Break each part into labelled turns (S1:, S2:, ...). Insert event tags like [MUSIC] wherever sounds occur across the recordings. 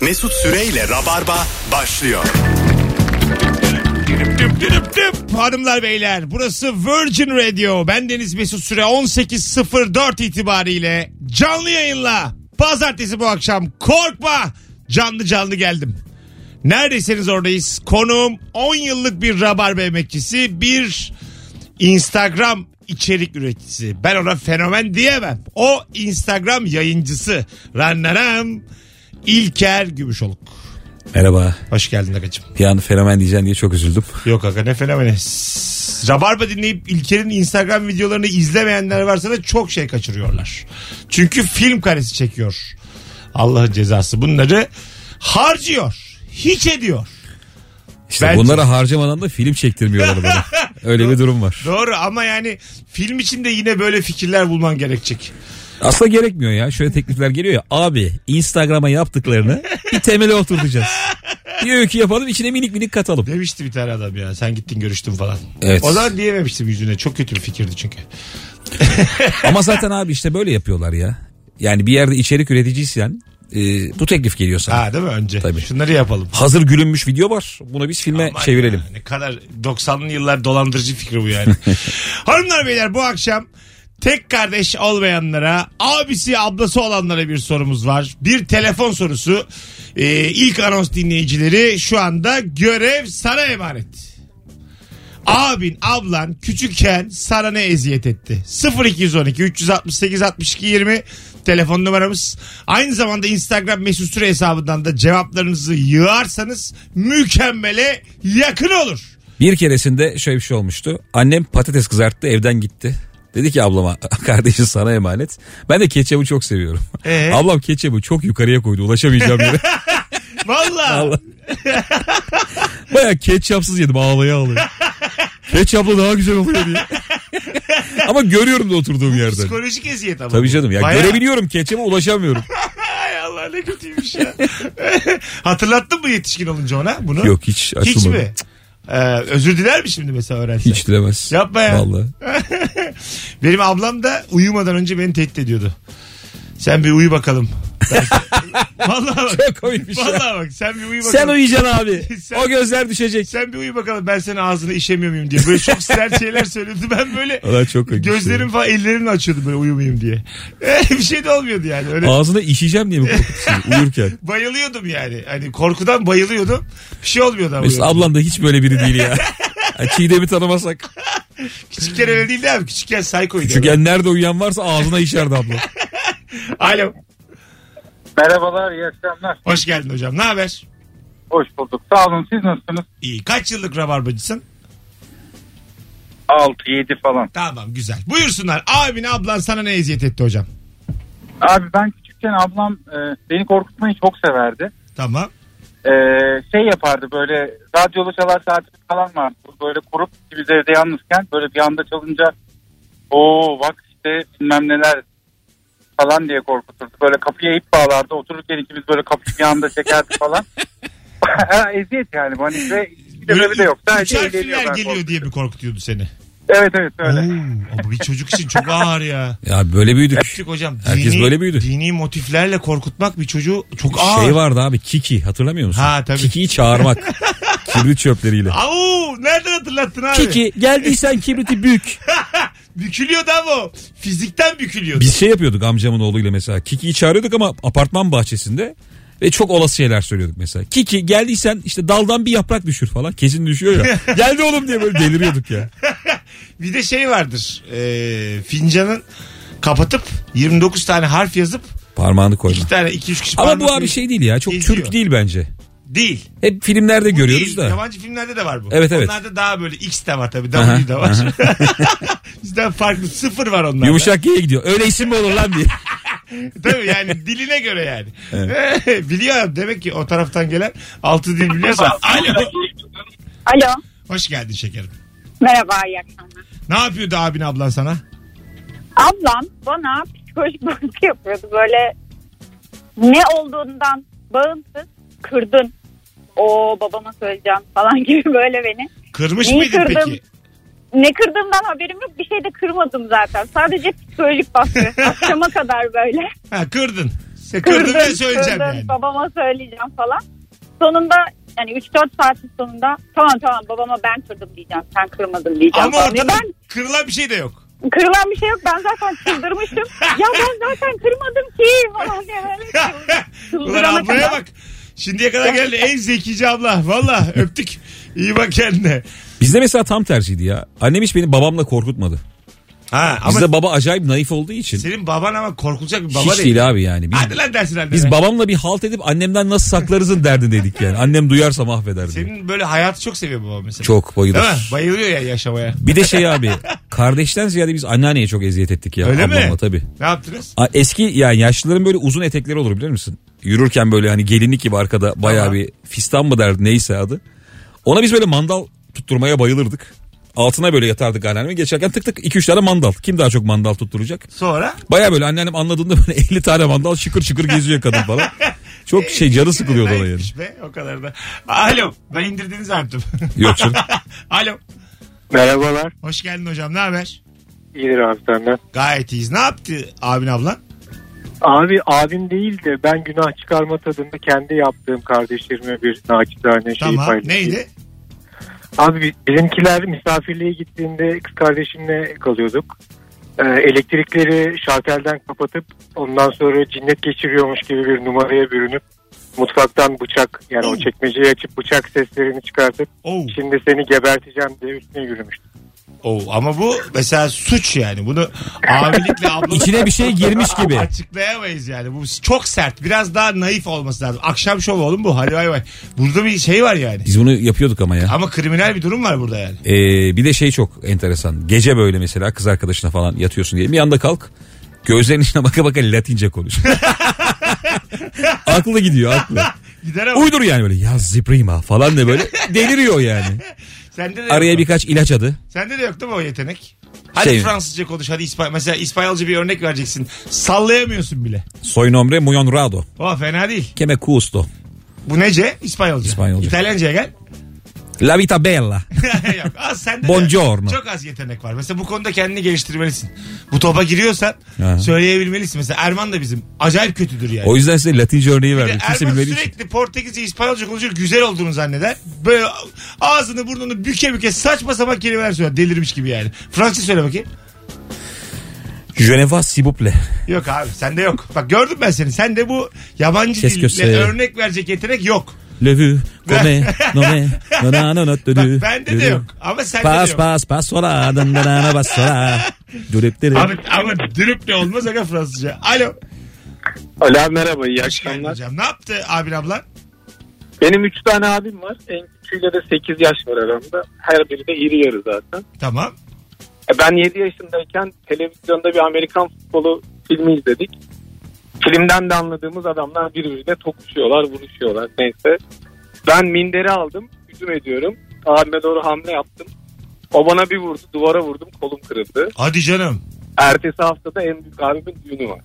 S1: Mesut Süreyle Rabarba başlıyor.
S2: Düp düp düp düp. Hanımlar beyler burası Virgin Radio. Ben Deniz Mesut Süre 18.04 itibariyle canlı yayınla. Pazartesi bu akşam korkma canlı canlı geldim. Neredeyseniz oradayız. Konuğum 10 yıllık bir rabarba emekçisi bir Instagram içerik üreticisi. Ben ona fenomen diyemem. O Instagram yayıncısı. Rannaram İlker Gümüşoluk.
S3: Merhaba.
S2: Hoş geldin Agacım.
S3: Bir an fenomen diyeceğim diye çok üzüldüm.
S2: Yok aga ne fenomeni. S- Rabarba dinleyip İlker'in Instagram videolarını izlemeyenler varsa da çok şey kaçırıyorlar. Çünkü film karesi çekiyor. Allah'ın cezası bunları harcıyor. Hiç ediyor.
S3: İşte
S2: Bence-
S3: bunlara harcamadan da film
S2: [LAUGHS]
S3: çektirmiyorlar bana. Öyle bir durum var.
S2: Doğru ama yani film içinde yine böyle fikirler bulman gerekecek.
S3: Aslında gerekmiyor ya. Şöyle teklifler geliyor ya. Abi Instagram'a yaptıklarını bir temele oturtacağız. Bir öykü yapalım içine minik minik katalım.
S2: Demişti bir tane adam ya sen gittin görüştün falan.
S3: Evet.
S2: O zaman diyememiştim yüzüne çok kötü bir fikirdi çünkü.
S3: Ama zaten abi işte böyle yapıyorlar ya. Yani bir yerde içerik üreticiysen e, bu teklif geliyor sana.
S2: Ha değil mi önce?
S3: Tabii.
S2: Şunları yapalım.
S3: Hazır gülünmüş video var. Bunu biz filme
S2: Aman
S3: çevirelim.
S2: ya, ne kadar 90'lı yıllar dolandırıcı fikri bu yani. Hanımlar beyler bu akşam tek kardeş olmayanlara, abisi ablası olanlara bir sorumuz var. Bir telefon sorusu. Ee, ilk anons dinleyicileri şu anda görev sana emanet. Abin, ablan küçükken sana ne eziyet etti? 0212 368 62 20 telefon numaramız. Aynı zamanda Instagram mesut süre hesabından da cevaplarınızı yığarsanız mükemmele yakın olur.
S3: Bir keresinde şöyle bir şey olmuştu. Annem patates kızarttı evden gitti. Dedi ki ablama [LAUGHS] kardeşin sana emanet. Ben de ketçabı çok seviyorum.
S2: Ee?
S3: Ablam ketçabı çok yukarıya koydu
S2: [LAUGHS]
S3: ulaşamayacağım yere.
S2: Valla.
S3: Vallahi. Baya ketçapsız yedim ağlaya ağlaya. Ketçapla daha güzel
S2: [LAUGHS]
S3: oluyor diye. ama görüyorum da oturduğum yerden.
S2: Psikolojik eziyet ama.
S3: Tabii
S2: bu.
S3: canım ya
S2: Bayağı-
S3: görebiliyorum
S2: [LAUGHS]
S3: ketçaba ulaşamıyorum.
S2: Ay Allah ne kötüymüş ya. [LAUGHS] Hatırlattın mı yetişkin olunca ona bunu?
S3: Yok hiç açılmadı.
S2: Hiç mi? Ee, özür diler mi şimdi mesela öğrense?
S3: Hiç dilemez.
S2: Yapma ya. [LAUGHS]
S3: Vallahi.
S2: Benim ablam da uyumadan önce beni tehdit ediyordu. Sen bir uyu
S3: [LAUGHS]
S2: bakalım. Ben- Vallahi bak.
S3: Çok komikmiş ya.
S2: Vallahi bak sen bir uyu bakalım.
S3: şey. Sen uyuyacaksın abi.
S2: [LAUGHS] Sen-
S3: O gözler düşecek.
S2: Sen bir uyu bakalım ben senin ağzını işemiyor muyum diye. Böyle çok
S3: [LAUGHS]
S2: sert şeyler söylüyordu. Ben böyle
S3: Allah çok şey. komikmiş ya.
S2: gözlerim falan ellerimle açıyordum böyle uyumayayım diye. [LAUGHS] bir şey de olmuyordu yani. Öyle
S3: Ağzına işeyeceğim diye mi korkutuyorsun uyurken?
S2: bayılıyordum yani. Hani korkudan bayılıyordum. Bir şey olmuyordu ama.
S3: Mesut ablan da hiç böyle biri
S2: [LAUGHS]
S3: değil ya. Ha, Çiğdem'i tanımasak.
S2: Küçükken öyle değildi abi. Küçükken psychoydu.
S3: Çünkü nerede uyuyan varsa ağzına işerdi abla.
S2: Alo.
S4: Merhabalar, iyi akşamlar.
S2: Hoş geldin hocam. Ne haber?
S4: Hoş bulduk. Sağ olun, siz nasılsınız?
S2: İyi. Kaç yıllık rabarbacısın?
S4: 6-7 falan.
S2: Tamam güzel. Buyursunlar. Abin ablan sana ne eziyet etti hocam?
S4: Abi ben küçükken ablam e, beni korkutmayı çok severdi.
S2: Tamam.
S4: E, şey yapardı böyle radyolu çalar saati falan vardı. Böyle kurup biz evde yalnızken böyle bir anda çalınca o bak işte bilmem neler falan diye korkuturdu. Böyle kapıya ip bağlardı. Otururken ikimiz böyle kapıyı bir anda çekerdi falan. [LAUGHS] eziyet yani. bu. Hani ve hiçbir sebebi de yok.
S2: Üç
S4: Sadece eğleniyor
S2: harfliler
S4: ben
S2: geliyor
S4: korkuyorum.
S2: diye mi korkutuyordu seni?
S4: Evet evet öyle.
S2: Oo, bu bir çocuk için çok ağır ya.
S3: Ya böyle büyüdük.
S2: Küçük hocam.
S3: Herkes böyle büyüdü.
S2: Dini motiflerle korkutmak bir çocuğu çok ağır.
S3: Şey vardı abi Kiki hatırlamıyor musun?
S2: Ha, tabii. [LAUGHS]
S3: Kiki'yi çağırmak. Kibrit çöpleriyle.
S2: Au, nereden hatırlattın abi?
S3: Kiki geldiysen kibriti bük.
S2: Bükülüyordu ama o. Fizikten bükülüyordu.
S3: Biz şey yapıyorduk amcamın oğluyla mesela. Kiki'yi çağırıyorduk ama apartman bahçesinde. Ve çok olası şeyler söylüyorduk mesela. Kiki geldiysen işte daldan bir yaprak düşür falan. Kesin düşüyor
S2: [LAUGHS]
S3: ya. Geldi oğlum diye böyle deliriyorduk ya.
S2: Bir de şey vardır. E, fincanın kapatıp 29 tane harf yazıp
S3: Parmağını koyma.
S2: iki tane iki üç kişi
S3: Ama bu
S2: parmakla-
S3: abi şey değil ya. Çok
S2: Geziyor.
S3: Türk değil bence.
S2: değil.
S3: Hep filmlerde
S2: Bu
S3: görüyoruz
S2: değil.
S3: da.
S2: Yabancı filmlerde de var bu.
S3: Evet, evet.
S2: Onlarda daha böyle X de var tabii.
S3: Aha,
S2: W de var. [LAUGHS] Bizden farklı sıfır var onlarda.
S3: Yumuşak Y'ye gidiyor. Öyle isim mi olur lan diye.
S2: Tabii yani diline göre yani. [LAUGHS] Biliyor adam. demek ki o taraftan gelen altı dil
S5: [LAUGHS]
S2: biliyorsa. Alo.
S5: Alo.
S2: Hoş geldin şekerim.
S5: Merhaba iyi akşamlar.
S2: Ne yapıyordu abin ablan sana?
S5: Ablam bana psikolojik baskı yapıyordu. Böyle ne olduğundan bağımsız kırdın. O babama söyleyeceğim falan [LAUGHS] gibi böyle beni.
S2: Kırmış
S5: Neyi
S2: mıydın
S5: kırdım?
S2: peki?
S5: Ne kırdığımdan haberim yok. Bir
S2: [LAUGHS]
S5: şey de kırmadım zaten. Sadece psikolojik baskı. Akşama kadar böyle.
S2: Ha, kırdın. İşte kırdın diye söyleyeceğim
S5: kırdım,
S2: yani.
S5: Babama söyleyeceğim falan. Sonunda yani 3-4 saatin sonunda tamam tamam babama ben kırdım diyeceğim. Sen kırmadın diyeceğim.
S2: Ama
S5: falan. Ya
S2: ortada
S5: Ben
S2: kırılan bir şey de
S5: [LAUGHS]
S2: yok.
S5: kırılan bir şey yok. Ben zaten çıldırmıştım. ya ben zaten kırmadım ki falan diye böyle çıldır-
S2: Ulan
S5: çıldırana
S2: ablaya
S5: kadar.
S2: bak. Şimdiye kadar geldi en zekice abla. Valla öptük. İyi bak kendine.
S3: [LAUGHS] Bizde mesela tam tersiydi ya. Annem hiç beni babamla korkutmadı.
S2: Ha, ama
S3: Bizde baba acayip naif olduğu için.
S2: senin baban ama korkulacak bir baba
S3: hiç
S2: değil.
S3: değil. abi yani. Biz,
S2: Hadi lan dersin annene.
S3: biz babamla bir halt edip annemden nasıl saklarızın derdindeydik yani. Annem duyarsa mahveder diye.
S2: Senin böyle hayatı çok seviyor babam mesela. Değil
S3: Çok bayılır.
S2: mi? Bayılıyor ya yaşamaya.
S3: Bir de şey abi kardeşten ziyade biz anneanneye çok eziyet ettik ya.
S2: Öyle
S3: ablama
S2: mi?
S3: tabii.
S2: Ne yaptınız?
S3: A- Eski yani yaşlıların böyle uzun etekleri olur bilir misin? Yürürken böyle hani gelinlik gibi arkada bayağı
S2: Tamam.
S3: bir fistan mı derdi neyse adı. Ona biz böyle mandal tutturmaya bayılırdık. Altına böyle yatardık anneannemi. Geçerken tık tık 2-3 tane mandal. Kim daha çok mandal tutturacak?
S2: Sonra?
S3: Baya böyle anneannem anladığında böyle [LAUGHS] 50 tane mandal şıkır şıkır geziyor kadın falan. Çok şey canı sıkılıyordu ona yani.
S2: Naifmiş Be, Ee, o kadar da. Alo. Ben indirdiğini zannettim.
S3: Yok canım.
S2: [LAUGHS] Alo.
S4: Merhabalar.
S2: Hoş geldin hocam. Ne haber?
S4: İyidir abi senden.
S2: Gayet iyiyiz. Ne yaptı abin ablan?
S4: Abi abim değil de ben günah çıkarma tadında kendi yaptığım kardeşlerime bir naçizane şeyi
S2: Tamam.
S4: paylaşayım.
S2: Neydi?
S4: Abi bi- bizimkiler misafirliğe gittiğinde kız kardeşimle kalıyorduk. Ee, elektrikleri şartelden kapatıp ondan sonra cinnet geçiriyormuş gibi bir numaraya bürünüp mutfaktan bıçak yani
S2: Hmm.
S4: o çekmeceyi açıp bıçak seslerini çıkartıp
S2: Oh.
S4: şimdi seni geberteceğim diye üstüne yürümüştü.
S2: Oh. Ama bu mesela suç yani. Bunu
S3: [LAUGHS]
S2: abilikle ablalıkla
S3: İçine bir şey girmiş gibi.
S2: Açıklayamayız yani. Bu çok sert. Biraz daha naif olması lazım. Akşam şovu oğlum bu. Hadi bay bay. Burada bir şey var yani.
S3: Biz bunu yapıyorduk ama ya.
S2: Ama kriminal bir durum var burada yani.
S3: Ee, bir de şey çok enteresan. Gece böyle mesela kız arkadaşına falan yatıyorsun diye bir anda kalk. Gözlerinin içine baka baka latince
S2: [LAUGHS]
S3: konuş. aklı gidiyor aklı.
S2: Gider ama.
S3: Uydur yani böyle ya ziprima falan de böyle deliriyor yani.
S2: Sende de
S3: Araya
S2: yok.
S3: birkaç ilaç adı.
S2: Sende de yok değil mi o yetenek? Hadi
S3: Şey-
S2: Fransızca konuş. Hadi İspanyol. Mesela İspanyolca bir örnek vereceksin. Sallayamıyorsun bile.
S3: Soy nombre muyon rado.
S2: O fena değil.
S3: Keme custo.
S2: Bu nece? İspanyolca.
S3: İspanyolca.
S2: İtalyanca'ya gel.
S3: La vita bella.
S2: [LAUGHS] Yok, az sende de
S3: Buongiorno.
S2: çok az yetenek var. Mesela bu konuda kendini geliştirmelisin. Bu topa giriyorsan
S3: Aha.
S2: söyleyebilmelisin. Mesela Erman da bizim acayip kötüdür yani.
S3: O yüzden size latince örneği
S2: Bir de
S3: verdim. Kimse
S2: Erman
S3: bilmediği için.
S2: sürekli Portekizce, İspanyolca konuşuyor güzel olduğunu zanneder. Böyle ağzını burnunu büke büke saçma sapan kelimeler söyler. Delirmiş gibi yani. Fransızca söyle bakayım.
S3: Geneva s'il vous plaît.
S2: Yok abi sende yok. Bak gördüm ben seni. Sende bu yabancı
S3: Kes
S2: dille
S3: köse.
S2: örnek verecek yetenek yok.
S3: Le vu, come, nome, nona, nona,
S2: Bak
S3: dönü.
S2: bende de yok. Ama sende de
S3: Pas
S2: yok.
S3: pas pas sola, dın dın dın bas sola. Dürüp dürüp.
S2: Abi, ama dürüp de olmaz aga Fransızca. Alo.
S4: Ala merhaba iyi
S2: Hoş geldin hocam. Ne yaptı abin ablan?
S4: Benim 3 tane abim var. En küçüğüyle de 8 yaş var aramda. Her biri de iri yarı zaten.
S2: Tamam.
S4: E, Ben 7 yaşındayken televizyonda bir Amerikan futbolu filmi izledik. Filmden de anladığımız adamlar birbirine tokuşuyorlar, vuruşuyorlar neyse. Ben minderi aldım, hücum ediyorum. Abime doğru hamle yaptım. O bana bir vurdu, duvara vurdum, kolum kırıldı.
S2: Hadi canım.
S4: Ertesi haftada en büyük abimin düğünü var.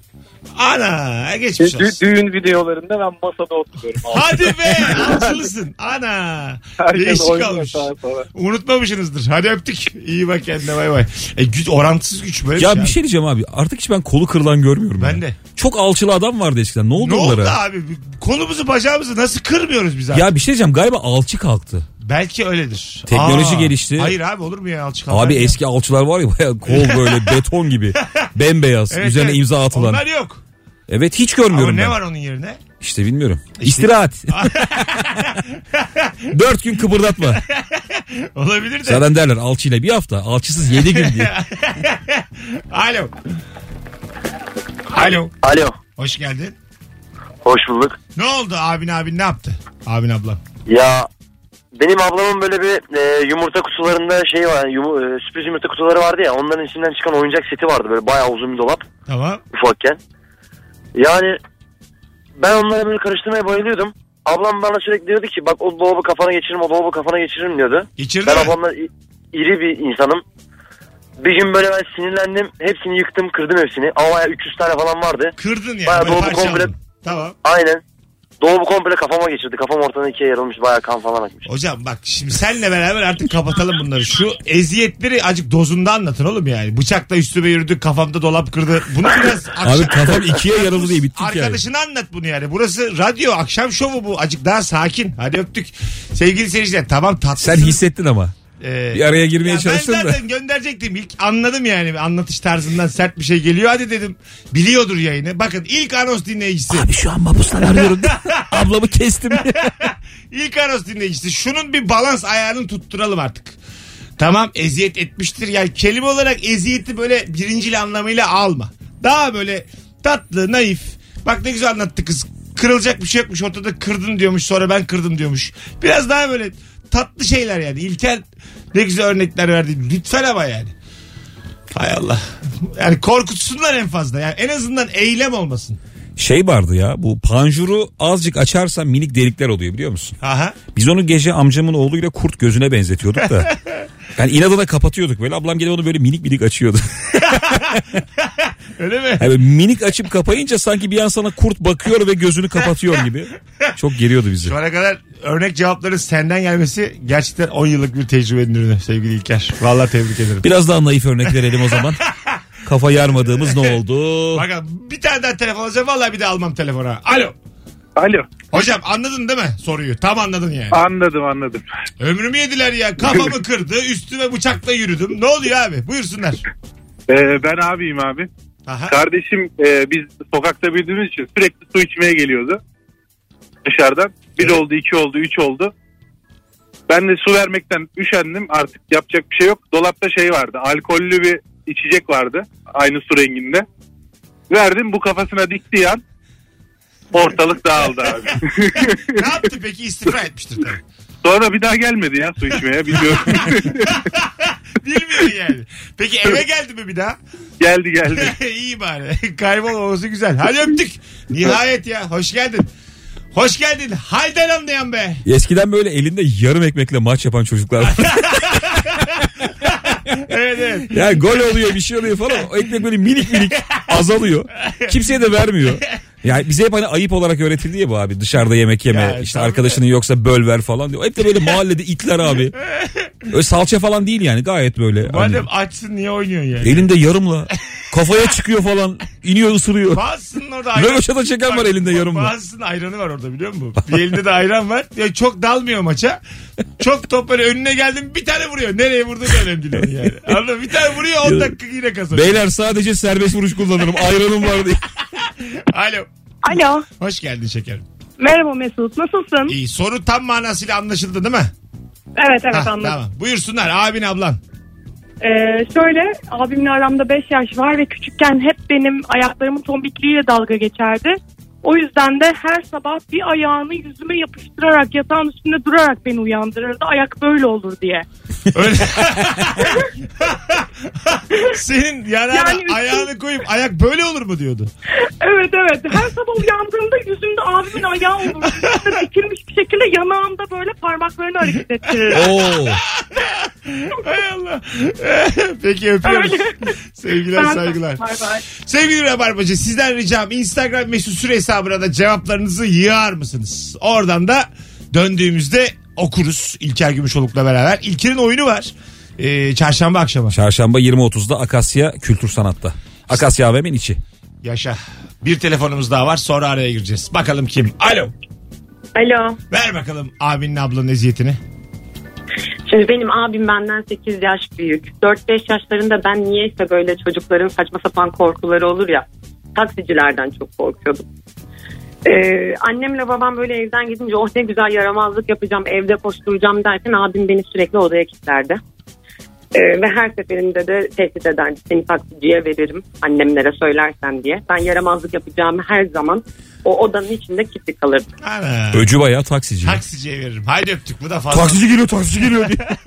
S2: Ana geçmiş
S4: Dü- [LAUGHS]
S2: olsun.
S4: düğün videolarında ben masada oturuyorum.
S2: Hadi be alçılısın. Ana.
S4: Herkes
S2: Değişik
S4: oynuyor
S2: olmuş.
S4: sağa sola.
S2: Unutmamışsınızdır. Hadi öptük. İyi bak kendine bay bay. E, güç, orantısız güç böyle
S3: Ya
S2: abi.
S3: bir şey diyeceğim abi. Artık hiç ben kolu kırılan görmüyorum.
S2: Ben
S3: ya.
S2: de.
S3: Çok alçılı adam vardı eskiden. Ne oldu
S2: Ne oldu
S3: onlara?
S2: abi? Kolumuzu bacağımızı nasıl kırmıyoruz biz abi?
S3: Ya bir şey diyeceğim galiba alçı kalktı.
S2: Belki öyledir.
S3: Teknoloji gelişti.
S2: Hayır abi olur mu ya alçık
S3: Abi eski alçılar var ya baya
S2: [LAUGHS]
S3: kol böyle beton gibi. Bembeyaz. üzerine imza atılan.
S2: Onlar yok.
S3: Evet hiç
S2: Ama
S3: görmüyorum
S2: ne
S3: ben.
S2: var E onun yerine? [LAUGHS]
S3: İşte bilmiyorum. İstirahat. Dört gün kıpırdatma.
S2: Olabilir de.
S3: Zaten derler alçıyla bir hafta. Alçısız yedi
S2: [LAUGHS]
S3: gün diye.
S2: Alo. Alo.
S6: Alo.
S2: Hoş geldin.
S6: Hoş bulduk.
S2: Ne oldu abin abin ne yaptı? Abin ablam.
S6: Ya benim ablamın böyle bir e, yumurta kutularında şey var. Yum, e, sürpriz yumurta kutuları vardı ya. Onların içinden çıkan oyuncak seti vardı. Böyle bayağı uzun bir dolap
S2: Tamam.
S6: ufakken. Yani ben onlara böyle karıştırmaya bayılıyordum. Ablam bana sürekli diyordu ki bak o dolabı kafana geçiririm o dolabı kafana geçiririm diyordu.
S2: Geçirdi
S6: Ben
S2: mi?
S6: ablamla i- iri bir insanım. Bir gün böyle ben sinirlendim. Hepsini yıktım kırdım hepsini. Ama bayağı 300 tane falan vardı.
S2: Kırdın yani.
S6: Bayağı
S2: böyle
S6: dolabı
S2: parçaladın.
S6: komple-
S2: Tamam.
S6: Aynen. Dolabı komple kafama geçirdi. Kafam ortadan ikiye yarılmış. Bayağı kan falan akmış.
S2: Hocam bak şimdi senle beraber artık kapatalım bunları. Şu eziyetleri acık dozunda anlatın oğlum yani. Bıçakla üstüme yürüdü kafamda dolap kırdı. Bunu biraz akşam...
S3: [LAUGHS]
S2: [LAUGHS]
S3: Abi kafam ikiye yarıldı diye bittik yani.
S2: Arkadaşına anlat bunu yani. Burası radyo akşam şovu bu. Acık daha sakin. Hadi öptük. Sevgili seyirciler tamam tatlısın.
S3: Sen hissettin ama.
S2: Ee,
S3: Bir araya girmeye
S2: ya
S3: çalıştın
S2: Ben
S3: da.
S2: zaten gönderecektim. İlk anladım yani anlatış tarzından sert bir şey geliyor. Hadi dedim biliyordur yayını. Bakın ilk anons dinleyicisi.
S3: Abi şu an mabustan arıyorum. [LAUGHS]
S2: [LAUGHS]
S3: Ablamı kestim.
S2: İlk anons dinleyicisi. Şunun bir balans ayarını tutturalım artık. Tamam eziyet etmiştir. Yani kelime olarak eziyeti böyle birincil anlamıyla alma. Daha böyle tatlı, naif. Bak ne güzel anlattı kız. Kırılacak bir şey yokmuş ortada kırdın diyormuş sonra ben kırdım diyormuş. Biraz daha böyle tatlı şeyler yani. İlker ne güzel örnekler verdi. Lütfen ama yani. Hay Allah. Yani korkutsunlar en fazla. Yani en azından eylem olmasın.
S3: şey vardı ya bu panjuru azıcık açarsan minik delikler oluyor biliyor musun?
S2: Aha.
S3: Biz onu gece amcamın oğluyla kurt gözüne benzetiyorduk da. Yani inadına kapatıyorduk böyle. Ablam gelip onu böyle minik minik açıyordu. [LAUGHS]
S2: Öyle mi?
S3: Yani böyle minik açıp kapayınca sanki bir an sana kurt bakıyor ve gözünü kapatıyor gibi. Çok geriyordu bizi.
S2: Şu ana kadar örnek cevapların senden gelmesi gerçekten 10 yıllık bir tecrübenin ürünü sevgili İlker. Vallahi tebrik ederim.
S3: Biraz daha naif örnek verelim o zaman. Kafa yarmadığımız ne oldu?
S2: Bakın bir tane daha telefon alacağım vallahi bir de almam telefona. Alo.
S7: Alo.
S2: Hocam anladın değil mi soruyu? Tam anladın yani.
S7: Anladım anladım.
S2: Ömrümü yediler ya.
S7: [LAUGHS]
S2: Kafamı kırdı. Üstüme bıçakla yürüdüm. Ne oluyor abi? Buyursunlar.
S7: Ee, ben abiyim abi.
S2: Aha.
S7: Kardeşim e, biz sokakta büyüdüğümüz için sürekli su içmeye geliyordu. Dışarıdan. Bir oldu, iki oldu, üç oldu. Ben de su vermekten üşendim. Artık yapacak bir şey yok. Dolapta şey vardı. Alkollü bir içecek vardı. Aynı su renginde. Verdim bu kafasına diktiği an ortalık dağıldı abi.
S2: ne yaptı peki? İstifra etmiştir tabii.
S7: Sonra bir daha gelmedi ya su
S2: [LAUGHS]
S7: içmeye bilmiyorum.
S2: Bilmiyor yani. Peki eve geldi mi bir daha?
S7: geldi geldi.
S2: [LAUGHS] İyi bari. Kaybolmaması güzel. Hadi öptük. Nihayet ya. Hoş geldin. Hoş geldin. Halden anlayan be.
S3: Eskiden böyle elinde yarım ekmekle maç yapan çocuklar var.
S2: Evet evet.
S3: Yani gol oluyor bir şey oluyor falan. O ekmek böyle minik minik azalıyor. Kimseye de vermiyor. Yani bize hep hani ayıp olarak öğretildi ya bu abi dışarıda yemek yeme
S2: Ya,
S3: işte
S2: tabii.
S3: arkadaşının yoksa böl ver falan diyor. Hep de böyle mahallede itler abi. Öyle salça falan değil yani gayet böyle. hani
S2: Madem açsın niye oynuyorsun yani?
S3: elinde yarımla kafaya çıkıyor falan iniyor ısırıyor.
S2: Bazısının orada
S3: Röveşata çeken var elinde yarımla.
S2: Bazısının ayranı var orada biliyor musun? Bir elinde de ayran var. Ya çok dalmıyor maça. Çok top böyle önüne geldim bir tane vuruyor. Nereye vurduğu da önemli değil yani. Anladın mı? Bir tane vuruyor 10 dakika yine kazanıyor.
S3: Beyler sadece serbest vuruş kullanırım ayranım var diye.
S2: Alo.
S8: Alo.
S2: Hoş geldin şekerim.
S8: Merhaba Mesut. Nasılsın?
S2: İyi. Soru tam manasıyla anlaşıldı değil mi?
S8: Evet evet
S2: Hah,
S8: anladım.
S2: Tamam. Buyursunlar abin ablan.
S8: Ee, şöyle abimle aramda 5 yaş var ve küçükken hep benim ayaklarımın tombikliğiyle dalga geçerdi. O yüzden de her sabah bir ayağını yüzüme yapıştırarak yatağın üstünde durarak beni uyandırırdı. Ayak böyle olur diye.
S2: Öyle. [LAUGHS] Senin yanağına
S8: Yani üstün-
S2: ayağını koyup ayak böyle olur mu diyordu.
S8: Evet evet. Her sabah uyandığımda yüzümde abimin ayağı olur. Üstüne dikilmiş bir şekilde yanağımda böyle parmaklarını hareket ettirirdi.
S3: Oo.
S2: Hay Allah. [LAUGHS] Peki öpüyoruz.
S8: Öyle.
S2: Sevgiler
S8: Ben-
S2: saygılar.
S8: Bay bay.
S2: Sevgili Rabarbacı sizden ricam Instagram mesut süre hesabına da cevaplarınızı yığar mısınız? Oradan da döndüğümüzde okuruz İlker Gümüşoluk'la beraber. İlker'in oyunu var. Ee, çarşamba akşamı.
S3: Çarşamba 20.30'da Akasya Kültür Sanat'ta. Akasya AVM'nin içi.
S2: Yaşa. Bir telefonumuz daha var sonra araya gireceğiz. Bakalım kim? Alo.
S9: Alo.
S2: Ver bakalım abinin ablanın eziyetini.
S9: Şimdi benim abim benden 8 yaş büyük. 4-5 yaşlarında ben niyeyse böyle çocukların saçma sapan korkuları olur ya. Taksicilerden çok korkuyordum. Ee, annemle babam böyle evden gidince oh ne güzel yaramazlık yapacağım evde koşturacağım derken abim beni sürekli odaya kilitlerdi. Ee, ve her seferinde de tehdit ederdi seni taksiciye veririm annemlere söylersen diye. Ben yaramazlık yapacağımı her zaman o odanın içinde kilitli kalırdım.
S2: Ana.
S3: Öcü bayağı taksici.
S2: Taksiciye veririm. Haydi öptük bu da fazla.
S3: Taksici geliyor taksici geliyor diye. [LAUGHS]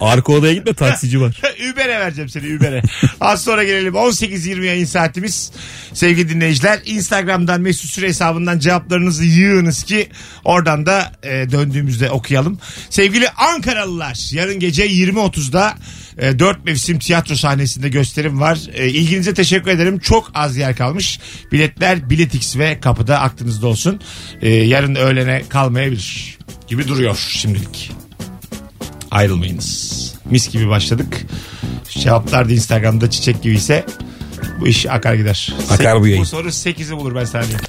S3: Arka odaya gitme taksici var.
S2: [LAUGHS] Uber'e vereceğim seni Uber'e. Az sonra gelelim 18.20 yayın saatimiz. Sevgili dinleyiciler Instagram'dan Mesut Süre hesabından cevaplarınızı yığınız ki oradan da e, döndüğümüzde okuyalım. Sevgili Ankaralılar yarın gece 20.30'da e, 4 mevsim tiyatro sahnesinde gösterim var. E, ilginize teşekkür ederim. Çok az yer kalmış. Biletler Biletix ve kapıda aklınızda olsun. E, yarın öğlene kalmayabilir gibi duruyor şimdilik. Ayrılmayınız. Mis gibi başladık. Cevaplar da Instagram'da çiçek gibi ise bu iş akar gider.
S3: Akar bu yayın.
S2: Bu soru 8'i bulur ben sana diyeyim.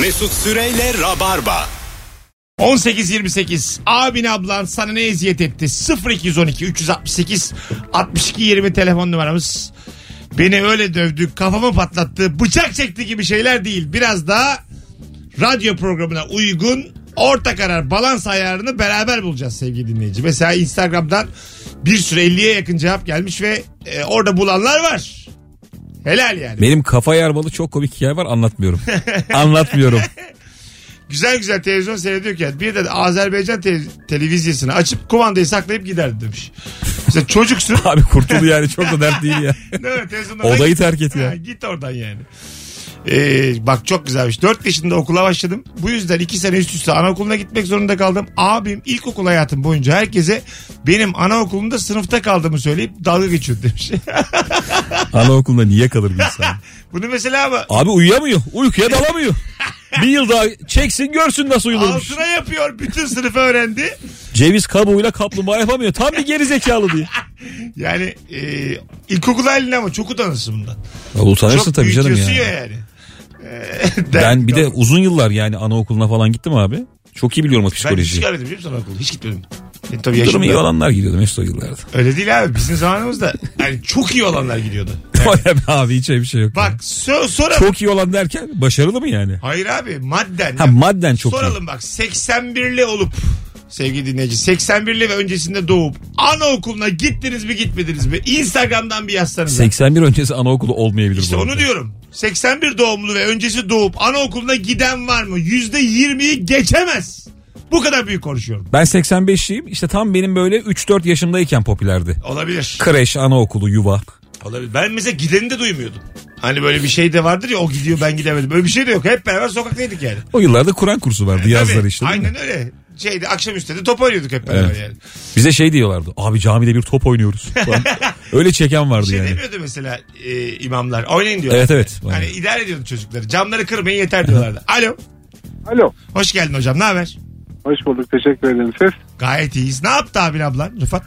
S1: Mesut Süreyle Rabarba.
S2: 18-28 abin ablan sana ne eziyet etti 0212 368 62 20 telefon numaramız beni öyle dövdü kafamı patlattı bıçak çekti gibi şeyler değil biraz daha radyo programına uygun orta karar balans ayarını beraber bulacağız sevgili dinleyici mesela instagramdan bir sürü 50'ye yakın cevap gelmiş ve e, orada bulanlar var helal yani
S3: Benim kafa yarmalı çok komik hikaye var anlatmıyorum.
S2: [LAUGHS]
S3: anlatmıyorum.
S2: güzel güzel televizyon seyrediyorken bir de Azerbaycan te- televizyesini açıp kumandayı saklayıp giderdi demiş. İşte
S3: [LAUGHS]
S2: çocuksun.
S3: Abi kurtuldu yani çok da dert değil ya.
S2: Evet, televizyondan
S3: Odayı
S2: git.
S3: terk et ya.
S2: Ha, git oradan yani. Ee, bak çok güzelmiş. 4 yaşında okula başladım. Bu yüzden 2 sene üst üste anaokuluna gitmek zorunda kaldım. Abim ilkokul hayatım boyunca herkese benim anaokulunda sınıfta kaldığımı söyleyip dalga geçiyor demiş. [LAUGHS]
S3: Anaokulunda niye kalır bir insan?
S2: Bunu mesela ama
S3: Abi uyuyamıyor. Uykuya dalamıyor. bir yıl daha çeksin görsün nasıl uyulurmuş.
S2: altına yapıyor. Bütün sınıf öğrendi.
S3: Ceviz kabuğuyla kaplumbağa yapamıyor. Tam bir geri zekalı diye.
S2: Yani e, ilkokul halinde ama çok utanırsın bundan.
S3: Ya utanırsın
S2: çok
S3: tabii canım
S2: büyütüyorsun
S3: ya.
S2: ya Ee, yani.
S3: Ben bir de uzun yıllar yani anaokuluna falan gittim abi. Çok iyi biliyorum o
S2: Ben hiç
S3: psikolojiyi.
S2: görmedim biliyor musun anaokulu? Hiç gitmedim. E, tabii
S3: Durumu iyi
S2: yaşımda.
S3: olanlar gidiyordu Mesut o yıllarda.
S2: Öyle değil abi. Bizim zamanımızda yani çok iyi olanlar gidiyordu.
S3: Öyle be abi hiç öyle bir şey yok.
S2: Bak so- sonra...
S3: Çok iyi olan derken başarılı mı yani?
S2: Hayır abi madden.
S3: Ha madden çok iyi.
S2: Soralım bak 81'li olup sevgili dinleyici 81'li ve öncesinde doğup anaokuluna gittiniz mi gitmediniz mi? Instagram'dan bir yazsanız.
S3: 81 öncesi anaokulu olmayabilir
S2: İşte
S3: bu arada.
S2: onu diyorum. 81 doğumlu ve öncesi doğup anaokuluna giden var mı? %20'yi geçemez. Bu kadar büyük konuşuyorum.
S3: Ben 85'liyim. İşte tam benim böyle 3-4 yaşımdayken popülerdi.
S2: Olabilir.
S3: Kreş, anaokulu, yuva.
S2: Olabilir. Ben mesela gideni de duymuyordum. Hani böyle bir şey de vardır ya o gidiyor ben gidemedim. Böyle bir şey de yok. Hep beraber sokaktaydık yani.
S3: O yıllarda Kur'an kursu vardı yazları
S2: E, Tabii.
S3: işte. değil mi?
S2: Aynen öyle. Şeyde akşamüstü de top oynuyorduk hep beraber
S3: Evet.
S2: yani.
S3: Bize şey diyorlardı. Abi camide bir
S2: [LAUGHS]
S3: top oynuyoruz. falan. Öyle çeken vardı
S2: Şey
S3: yani.
S2: demiyordu mesela e, imamlar. Oynayın diyorlar.
S3: Evet evet.
S2: Hani idare ediyordu çocukları. Camları kırmayın yeter diyorlardı. Alo.
S7: Alo.
S2: Hoş geldin hocam. Ne haber?
S7: Hoş bulduk. Teşekkür ederim. Ses.
S2: Gayet iyiyiz. Ne yaptı abin ablan Rıfat?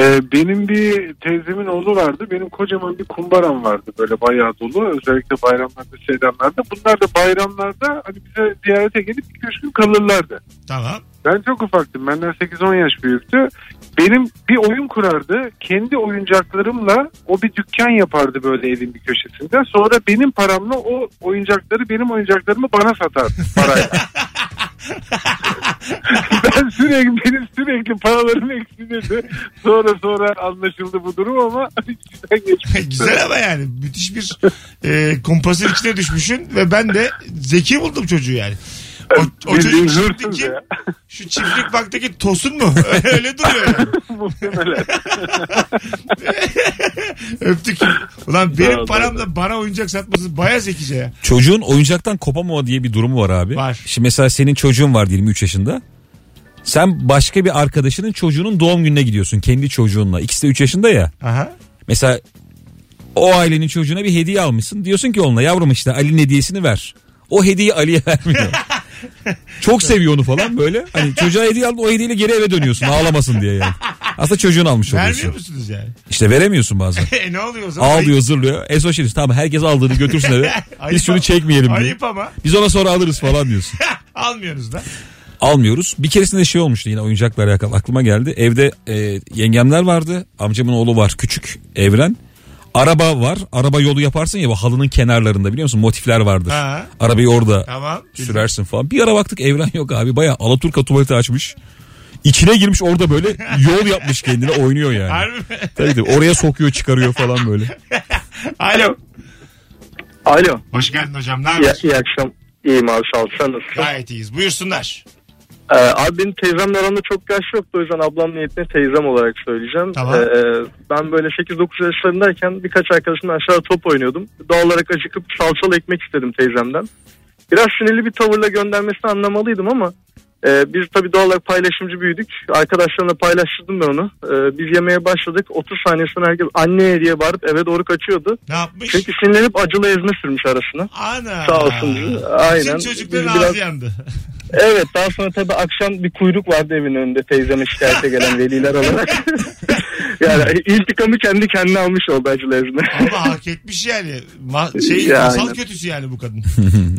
S7: Ee, benim bir teyzemin oğlu vardı. Benim kocaman bir kumbaram vardı böyle bayağı dolu. Özellikle bayramlarda, seyranlarda. Bunlar da bayramlarda hani bize ziyarete gelip 2-3 gün kalırlardı.
S2: Tamam.
S7: Ben çok ufaktım. Benden 8-10 yaş büyüktü. Benim bir oyun kurardı. Kendi oyuncaklarımla o bir dükkan yapardı böyle evin bir köşesinde. Sonra benim paramla o oyuncakları benim oyuncaklarımı bana satardı parayla. ben sürekli benim sürekli paralarım eksilirdi. Sonra sonra anlaşıldı bu durum ama [LAUGHS] içinden geçmişti.
S2: Güzel ama yani. Müthiş bir e, kumpasın içine düşmüşsün ve ben de zeki buldum çocuğu yani. O, o
S7: Bildiğin
S2: çocuk
S7: hırsız
S2: çiftlik
S7: ya.
S2: Şu çiftlik baktaki tosun mu? [LAUGHS] Öyle duruyor yani.
S7: [LAUGHS] Muhtemelen.
S2: [LAUGHS] Öptük. Ulan
S7: Sağ
S2: benim
S7: ol,
S2: paramla bana oyuncak satması baya zekice ya.
S3: Çocuğun oyuncaktan kopamama diye bir durumu var abi.
S2: Var.
S3: Şimdi mesela senin çocuğun var diyelim 3 yaşında. Sen başka bir arkadaşının çocuğunun doğum gününe gidiyorsun kendi çocuğunla. İkisi de 3 yaşında ya.
S2: Aha.
S3: Mesela o ailenin çocuğuna bir hediye almışsın. Diyorsun ki onunla yavrum işte Ali'nin hediyesini ver. O hediyeyi Ali'ye [LAUGHS] vermiyor. Çok seviyor onu falan böyle. Hani çocuğa hediye aldın o hediyeyle geri eve dönüyorsun ağlamasın diye yani. Aslında çocuğun almış
S2: Vermiyor
S3: oluyorsun.
S2: musunuz yani? [LAUGHS]
S3: İşte veremiyorsun bazen.
S2: E, ne oluyor o zaman?
S3: Ağlıyor zırlıyor. E sosyalist tamam herkes aldığını götürsün eve.
S2: Ayıp
S3: Biz şunu
S2: ama.
S3: çekmeyelim diye.
S2: Ayıp ama.
S3: Biz ona sonra alırız falan diyorsun.
S2: Almıyorsunuz da.
S3: Almıyoruz. Bir keresinde şey olmuştu yine oyuncakla alakalı aklıma geldi. Evde e, yengemler vardı. Amcamın oğlu var küçük Evren. Araba var. Araba yolu yaparsın ya bu halının kenarlarında biliyor musun? Motifler vardır.
S2: Ha.
S3: Arabayı orada
S2: Tamam.
S3: sürersin falan. Bir ara baktık Evren yok abi. Baya Alaturka tuvaleti açmış. İçine girmiş
S2: [LAUGHS]
S3: orada böyle yol yapmış kendine oynuyor yani.
S2: Harbi mi? [LAUGHS]
S3: Tabii tabii. oraya sokuyor çıkarıyor falan böyle.
S2: Alo.
S6: Alo.
S2: Hoş geldin hocam. Ne
S6: İyi,
S2: haber?
S6: iyi akşam. İyiyim abi sağ ol. Sen nasılsın?
S2: Gayet iyiyiz. Buyursunlar.
S10: Ee, abi benim teyzemle aramda çok yaş yoktu o yüzden ablam niyetine teyzem olarak söyleyeceğim.
S2: Tamam.
S10: Ee, ben böyle 8-9 yaşlarındayken birkaç arkadaşımla aşağı top oynuyordum. Doğal olarak acıkıp salçalı ekmek istedim teyzemden. Biraz sinirli bir tavırla göndermesini anlamalıydım ama e, biz tabii doğal olarak paylaşımcı büyüdük. Arkadaşlarımla paylaştırdım ben onu. Ee, biz yemeye başladık. 30 saniyesinden herkes anne diye bağırıp eve doğru kaçıyordu.
S2: Ne yapmış?
S10: Çünkü sinirlenip acılı ezme sürmüş arasına.
S2: Ana.
S10: Sağ olsun. Aynen.
S2: Bizim çocukların
S10: Biraz-
S2: ağzı yandı. [LAUGHS]
S10: Evet daha sonra tabii akşam bir kuyruk vardı evin önünde teyzeme şikayete gelen veliler
S2: [LAUGHS]
S10: olarak. yani intikamı kendi kendine almış oldu acılı ezme.
S2: Ama hak etmiş yani. Ma- şey,
S10: Ya,
S2: masal
S10: aynen.
S2: kötüsü yani bu
S3: [LAUGHS]
S2: kadın.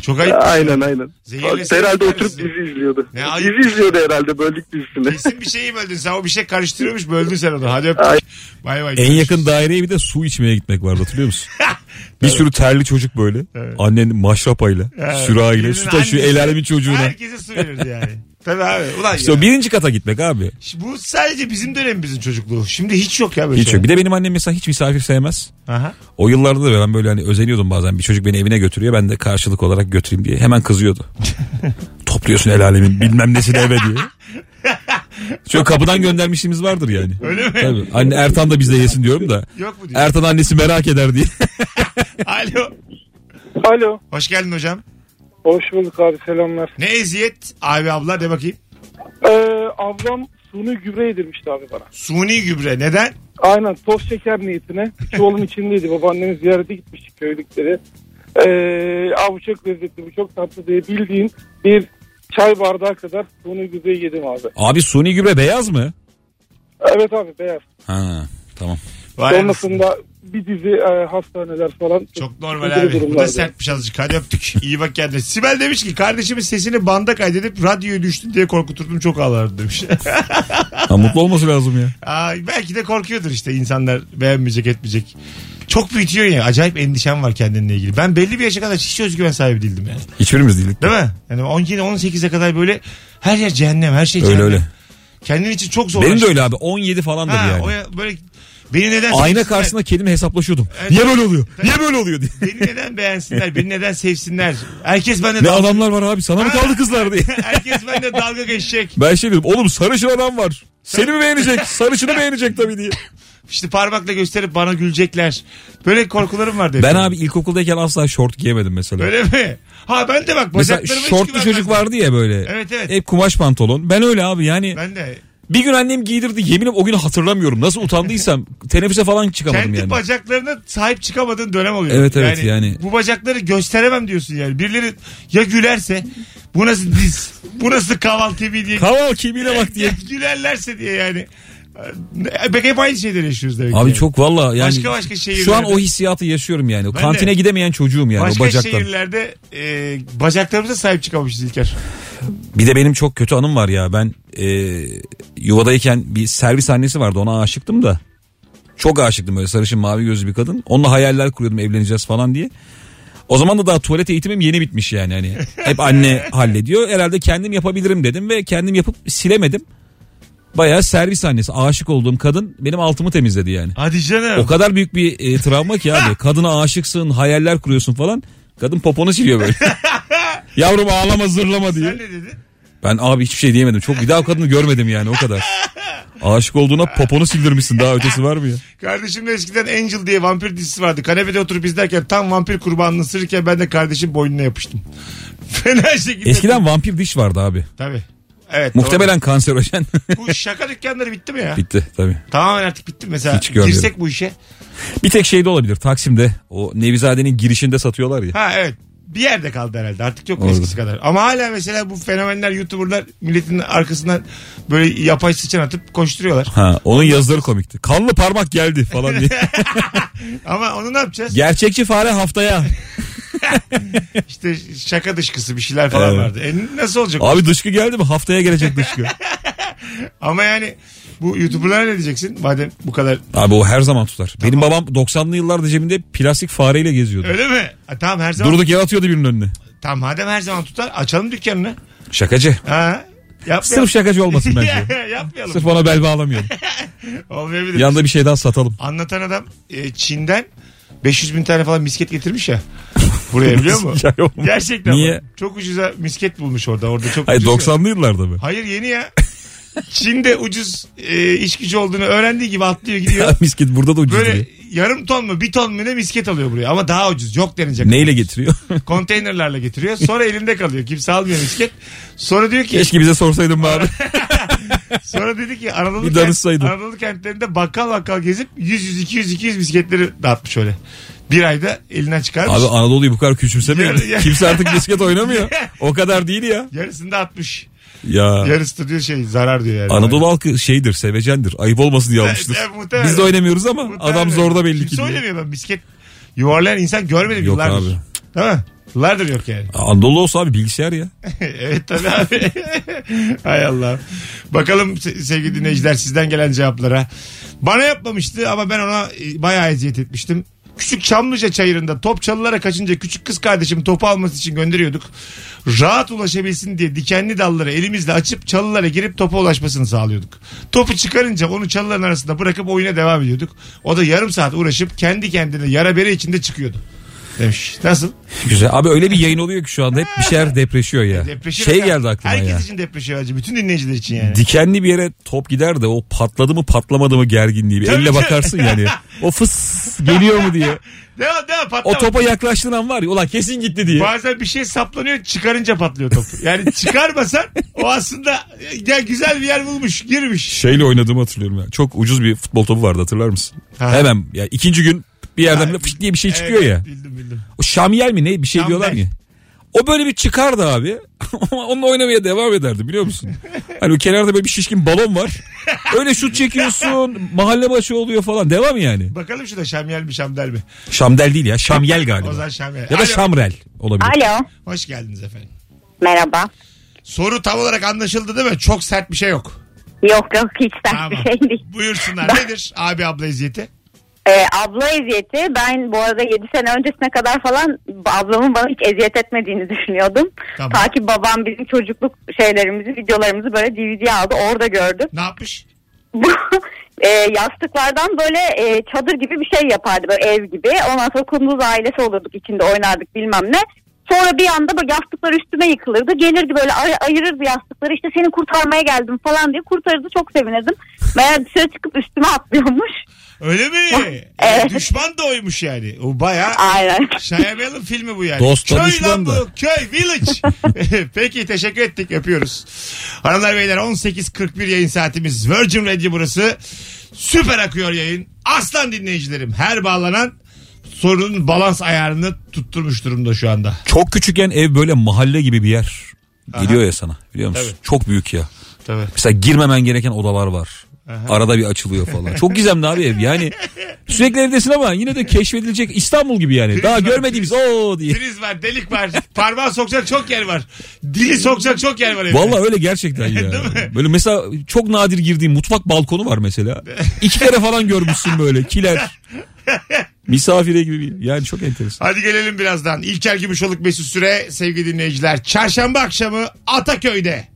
S2: Çok ayıp.
S10: aynen aynen.
S2: Zehirleseydi
S10: herhalde
S2: ister
S10: oturup
S2: misin?
S10: dizi izliyordu.
S2: Ne ayıp.
S10: dizi izliyordu herhalde böldük dizisini.
S2: Kesin bir şeyi böldün sen. O bir şey karıştırıyormuş böldün sen onu. Hadi öptük.
S10: Ay.
S2: Bay bay.
S3: En yakın daireye bir de su içmeye gitmek vardı
S2: [LAUGHS]
S3: hatırlıyor musun? Bir sürü terli çocuk böyle. Annen maşrapayla,
S2: Evet.
S3: sürahiyle,
S2: Birinin
S3: su taşıyor el
S2: annesi-
S3: alemin çocuğuna.
S2: Herkese su verirdi
S3: [LAUGHS]
S2: yani. Tabii abi. Ulan
S3: İşte
S2: ya.
S3: o birinci kata gitmek abi.
S2: Bu sadece bizim dönemimizin çocukluğu. Şimdi hiç yok ya böyle
S3: Hiç
S2: şey.
S3: yok. Bir de benim annem mesela hiç misafir sevmez.
S2: Aha.
S3: O yıllarda da ben böyle hani özeniyordum bazen. Bir çocuk beni evine götürüyor ben de karşılık olarak götüreyim diye. Hemen kızıyordu.
S2: [LAUGHS]
S3: Topluyorsun el alemin bilmem nesini eve diye. Şöyle kapıdan göndermişliğimiz vardır yani.
S2: Öyle mi?
S3: Tabii. Anne Ertan da bizde yesin diyorum da.
S2: Yok mu diyor.
S3: Ertan annesi merak
S2: [LAUGHS]
S3: eder diye.
S2: Alo.
S7: Alo.
S2: Hoş geldin hocam.
S7: Hoş bulduk abi selamlar. Ee,
S2: Ne eziyet abi abla de bakayım.
S7: ablam suni gübre yedirmişti abi bana.
S2: Suni gübre neden?
S7: Aynen toz şeker niyetine. Çuvalın içindeydi. Babaannemi ziyarete gitmiştik köylükleri. Ee, abi bu çok lezzetli, bu çok tatlı diye bildiğin bir çay bardağı kadar bunu güzel yedim abi.
S3: Abi suni gübre beyaz mı?
S7: Evet abi beyaz.
S3: Ha tamam.
S2: Vay anasını.
S7: Sonrasında bir dizi e, hastaneler falan.
S2: Çok normal
S7: Sıkıntılı
S2: abi. Bu da
S7: durumlardı.
S2: sertmiş azıcık. Hadi öptük. [LAUGHS] İyi bak kendine. Sibel demiş ki kardeşimin sesini banda kaydedip radyoya düştü diye korkuturdum çok ağlardı demiş. [LAUGHS]
S3: Ha, mutlu olması lazım ya.
S2: Ay, belki de korkuyordur işte insanlar beğenmeyecek etmeyecek. Çok büyütüyor ya. Acayip endişem var kendinle ilgili. Ben belli bir yaşa kadar hiç özgüven sahibi değildim yani.
S3: Hiçbirimiz değildik.
S2: Değil mi? Yani 17 18'e kadar böyle her yer cehennem, her şey cehennem.
S3: Öyle öyle.
S2: Kendin için çok zor.
S3: Benim de öyle abi 17 falandır
S2: Ha,
S3: yani.
S2: o ya- böyle beni neden
S3: Ayna
S2: sevsinler?
S3: karşısında kendime hesaplaşıyordum.
S2: Evet.
S3: Niye böyle oluyor? Niye böyle
S2: [LAUGHS]
S3: oluyor diye.
S2: Beni neden beğensinler? Beni neden sevsinler? Herkes bende
S3: Ne
S2: dalga,
S3: adamlar var abi sana mı kaldı
S2: [LAUGHS]
S3: kızlar diye.
S2: herkes bende dalga geçecek.
S3: Ben şey dedim oğlum sarışın adam var. Seni mi beğenecek? Sarışını beğenecek tabii diye.
S2: İşte parmakla gösterip bana gülecekler. Böyle korkularım vardı. hep.
S3: Ben abi ilkokuldayken asla şort giyemedim mesela.
S2: Öyle mi? Ha ben de bak
S3: mesela
S2: bacaklarıma hiç
S3: şortlu
S2: güvenmezdim.
S3: çocuk E- vardı ya böyle.
S2: Evet, evet.
S3: Hep kumaş pantolon. Ben öyle abi yani
S2: Ben de.
S3: bir gün annem giydirdi yeminim o günü hatırlamıyorum. Nasıl utandıysam teneffüse falan çıkamadım
S2: Kendi
S3: yani.
S2: bacaklarına sahip çıkamadığın dönem oluyor.
S3: Evet, evet, yani.
S2: Bu bacakları gösteremem diyorsun yani. Birileri ya gülerse bu nasıl diz, bu nasıl kaval kemiği diye. [LAUGHS]
S3: Kaval kimine bak diye.
S2: Ya gülerlerse diye yani. E, Bak hep aynı şeyleri yaşıyoruz demek ki
S3: Abi
S2: yani.
S3: çok valla yani
S2: Başka başka
S3: şu an
S2: şehirlerde-
S3: o hissiyatı yaşıyorum yani. O
S2: Ben
S3: Kantine
S2: de.
S3: gidemeyen çocuğum yani o
S2: Başka
S3: bacaklar.
S2: şehirlerde e, bacaklarımıza sahip çıkamışız İlker.
S3: Bir de benim çok kötü anım var ya ben e, yuvadayken bir servis annesi vardı ona aşıktım da. Çok aşıktım böyle sarışın mavi gözlü bir kadın. Onunla hayaller kuruyordum evleneceğiz falan diye. O zaman da daha tuvalet eğitimim yeni bitmiş yani. Hani
S2: [LAUGHS]
S3: hep anne hallediyor. Herhalde kendim yapabilirim dedim ve kendim yapıp silemedim. Bayağı servis annesi aşık olduğum kadın benim altımı temizledi yani.
S2: Hadi canım.
S3: O kadar büyük bir e, travma ki abi. Kadına aşıksın, hayaller kuruyorsun falan. Kadın poponu siliyor böyle. Yavrum ağlama zırlama diye.
S2: Sen ne dedin?
S3: Ben abi hiçbir şey diyemedim. Çok bir daha o kadını görmedim yani o kadar. Aşık olduğuna poponu sildirmişsin daha ötesi var mı ya?
S2: Kardeşim de eskiden Angel diye vampir dizisi vardı. Kanepede oturup izlerken tam vampir kurbanını ısırırken ben de kardeşim boynuna yapıştım. [LAUGHS] Fena şekilde.
S3: Eskiden vampir diş vardı abi.
S2: Tabii. Evet.
S3: Muhtemelen kanserojen. [LAUGHS]
S2: doğru. Bu şaka dükkanları bitti mi ya?
S3: Bitti tabii.
S2: Tamamen artık bitti. Mesela
S3: Hiç görmedim.
S2: girsek bu işe.
S3: Bir tek şey de olabilir Taksim'de o Nevizade'nin girişinde satıyorlar ya.
S2: Ha evet. Bir yerde kaldı herhalde. Artık yok
S3: Orada.
S2: eskisi kadar. Ama hala mesela bu fenomenler, YouTuber'lar milletin arkasından böyle yapay sıçan atıp koşturuyorlar.
S3: Ha, onun yazıları komikti. Kanlı parmak geldi falan diye.
S2: Ama onu ne yapacağız?
S3: Gerçekçi fare haftaya.
S2: İşte şaka dışkısı bir şeyler falan
S3: Evet.
S2: vardı. E nasıl olacak?
S3: Abi dışkı geldi mi? Haftaya gelecek dışkı.
S2: Ama yani bu YouTuber'lara ne diyeceksin? Madem bu kadar
S3: Abi o her zaman tutar. Benim babam 90'lı yıllarda cebinde plastik fareyle geziyordu.
S2: Öyle mi? Ha, tamam her zaman.
S3: Durduk yere atıyordu birinin önüne.
S2: Tamam madem her zaman tutar açalım dükkanını.
S3: Şakacı.
S2: Ha. Yapmayalım.
S3: Sırf şakacı olmasın
S2: [LAUGHS]
S3: bence.
S2: Yapmayalım. [LAUGHS]
S3: Sırf bana bel bağlamayalım.
S2: Olmayabilir.
S3: Yanında bir şey daha satalım.
S2: Anlatan adam e, Çin'den 500 bin tane falan misket getirmiş ya. Buraya
S3: [LAUGHS]
S2: biliyor musun?
S3: Hikaye olmuş.
S2: Gerçekten
S3: Niye?
S2: bak, Çok ucuza misket bulmuş orada. Orada çok
S3: Hayır
S2: ucuz ya.
S3: 90'lı yıllarda mı?
S2: Hayır yeni ya. Çin'de ucuz e, iş gücü olduğunu öğrendiği gibi atlıyor
S3: [LAUGHS]
S2: gidiyor.
S3: Misket burada da ucuz
S2: Böyle
S3: diyor.
S2: yarım ton mu bir ton mu ne misket alıyor buraya. Ama daha ucuz yok denecek. [LAUGHS]
S3: Neyle getiriyor?
S2: Konteynerlerle getiriyor. Sonra elinde kalıyor. Kimse almıyor misket. Sonra diyor ki
S3: Keşke bize sorsaydın bari.
S2: [LAUGHS] sonra dedi ki Anadolu,
S3: Bir
S2: kent,
S3: danışsaydın.
S2: Anadolu kentlerinde bakkal bakkal gezip 100 100 200 200 misketleri dağıtmış öyle. Bir ayda elinden çıkarmış.
S3: Abi Anadolu'yu bu kadar küçümsemeyin.
S2: Ya- ya-
S3: Kimse artık
S2: [LAUGHS]
S3: misket oynamıyor. O kadar değil ya.
S2: Yarısını da atmış.
S3: Ya.
S2: Yarısı da diyor şey zarar diyor yani.
S3: Anadolu halkı şeydir, sevecendir. Ayıp olmasın diye almıştır.
S2: [LAUGHS] Evet, muhtemelen.
S3: Biz de oynamıyoruz ama
S2: Muhtemelen.
S3: adam zorda belli ki.
S2: Kimse
S3: diye.
S2: oynamıyor ben misket. Yuvarlayan insan görmedim
S3: Yok
S2: yıllardır.
S3: abi.
S2: Değil mi? Yıllardır yok yani.
S3: Anadolu olsa abi bilgisayar ya.
S2: [LAUGHS] evet tabii abi. [LAUGHS] Hay Allah. Bakalım se- sevgili dinleyiciler sizden gelen cevaplara. Bana yapmamıştı ama ben ona e, bayağı eziyet etmiştim. Küçük Çamlıca çayırında Topçalılara kaçınca küçük kız kardeşim topu alması için gönderiyorduk. Rahat ulaşabilsin diye dikenli dalları elimizle açıp çalılara girip topa ulaşmasını sağlıyorduk. Topu çıkarınca onu çalıların arasında bırakıp oyuna devam ediyorduk. O da yarım saat uğraşıp kendi kendine yara bere içinde çıkıyordu. Demiş. Nasıl?
S3: Güzel. Abi öyle bir yayın oluyor ki şu anda hep bir şeyler depreşiyor ya.
S2: Depreşir
S3: şey
S2: efendim.
S3: geldi aklıma
S2: E, Herkes
S3: ya.
S2: için depreşiyor acı. Bütün dinleyiciler için yani.
S3: Dikenli bir yere top gider de o patladı mı patlamadı mı gerginliği. Bir
S2: Tabii
S3: elle
S2: canım.
S3: bakarsın yani. O fıs geliyor mu diye.
S2: Devam devam patlama.
S3: O topa yaklaştığın an var ya ulan kesin gitti diye.
S2: Bazen bir şey saplanıyor çıkarınca patlıyor top.
S3: [LAUGHS]
S2: Yani çıkarmasan o aslında ya güzel bir yer bulmuş girmiş.
S3: Şeyle oynadığımı hatırlıyorum ya. Çok ucuz bir futbol topu vardı hatırlar mısın?
S2: Ha.
S3: Hemen ya ikinci gün bir yerden böyle fışt diye bir şey çıkıyor
S2: Evet,
S3: ya.
S2: Bildim bildim.
S3: O Şamyel mi ne bir şey
S2: Şamyel.
S3: diyorlar ya. O böyle bir çıkardı abi. [LAUGHS] Onunla oynamaya devam ederdi biliyor musun? Hani o kenarda böyle bir şişkin balon var. Öyle şut çekiyorsun. Mahalle başı oluyor falan. Devam yani.
S2: Bakalım şu da Şamyel mi Şamdel mi?
S3: Şamdel değil ya. Şamyel
S2: O zaman
S3: galiba.
S2: Şamyel.
S3: Ya da
S2: Alo,
S3: Şamrel olabilir.
S5: Alo.
S2: Hoş geldiniz efendim.
S5: Merhaba.
S2: Soru tam olarak anlaşıldı değil mi? Çok sert bir şey yok.
S5: Yok yok hiç sert bir şey değil.
S2: Buyursunlar.
S5: Ben-
S2: Nedir abi abla eziyeti?
S5: Ee, abla eziyeti ben bu arada 7 sene öncesine kadar falan ablamın bana hiç eziyet etmediğini [LAUGHS] düşünüyordum.
S2: Tamam.
S5: Ta ki babam bizim çocukluk şeylerimizi videolarımızı böyle DVD aldı orada gördüm. [LAUGHS]
S2: Ne yapmış?
S5: Bu e, yastıklardan böyle e, çadır gibi bir şey yapardı böyle ev gibi. Ondan sonra kunduz ailesi olurduk içinde oynardık bilmem ne. Sonra bir anda böyle yastıklar üstüme yıkılırdı. Gelirdi böyle ay- ayırırdı yastıkları işte seni kurtarmaya geldim falan diye kurtarırdı çok sevinirdim. Meğer dışarı çıkıp üstüme atlıyormuş.
S2: Öyle mi? E,
S5: Evet.
S2: Düşman da oymuş yani. O bayağı
S5: Aynen.
S2: Şayamel'in filmi bu yani.
S3: Dost da
S2: köy lan
S3: düşman da.
S2: bu. Köy village. [LAUGHS] Peki teşekkür ettik öpüyoruz. Hanımlar beyler 18.41 yayın saatimiz. Virgin Radio burası. Süper akıyor yayın. Aslan dinleyicilerim her bağlanan sorunun balans ayarını tutturmuş durumda şu anda.
S3: Çok küçükken ev böyle mahalle gibi bir yer. Geliyor ya sana biliyor musun?
S2: Tabii.
S3: Çok büyük ya.
S2: Tabii.
S3: Mesela girmemen gereken odalar var. Arada bir açılıyor falan. Çok gizemli abi ev. Yani sürekli evdesin ama yine de keşfedilecek İstanbul gibi yani. Daha
S2: var,
S3: görmediğimiz o diye.
S2: Priz var, delik var, parmağı sokacak çok yer var. Dili sokacak çok yer var. evde.
S3: Vallahi öyle
S2: [LAUGHS]
S3: gerçekten ya. Böyle mesela çok nadir girdiğim mutfak balkonu
S2: [LAUGHS]
S3: var mesela. İki kere falan görmüşsün böyle kiler. Misafire gibi bir yani çok enteresan.
S2: Hadi gelelim birazdan. İlker Gümüşoluk Mesut Süre sevgili dinleyiciler. Çarşamba akşamı Ataköy'de.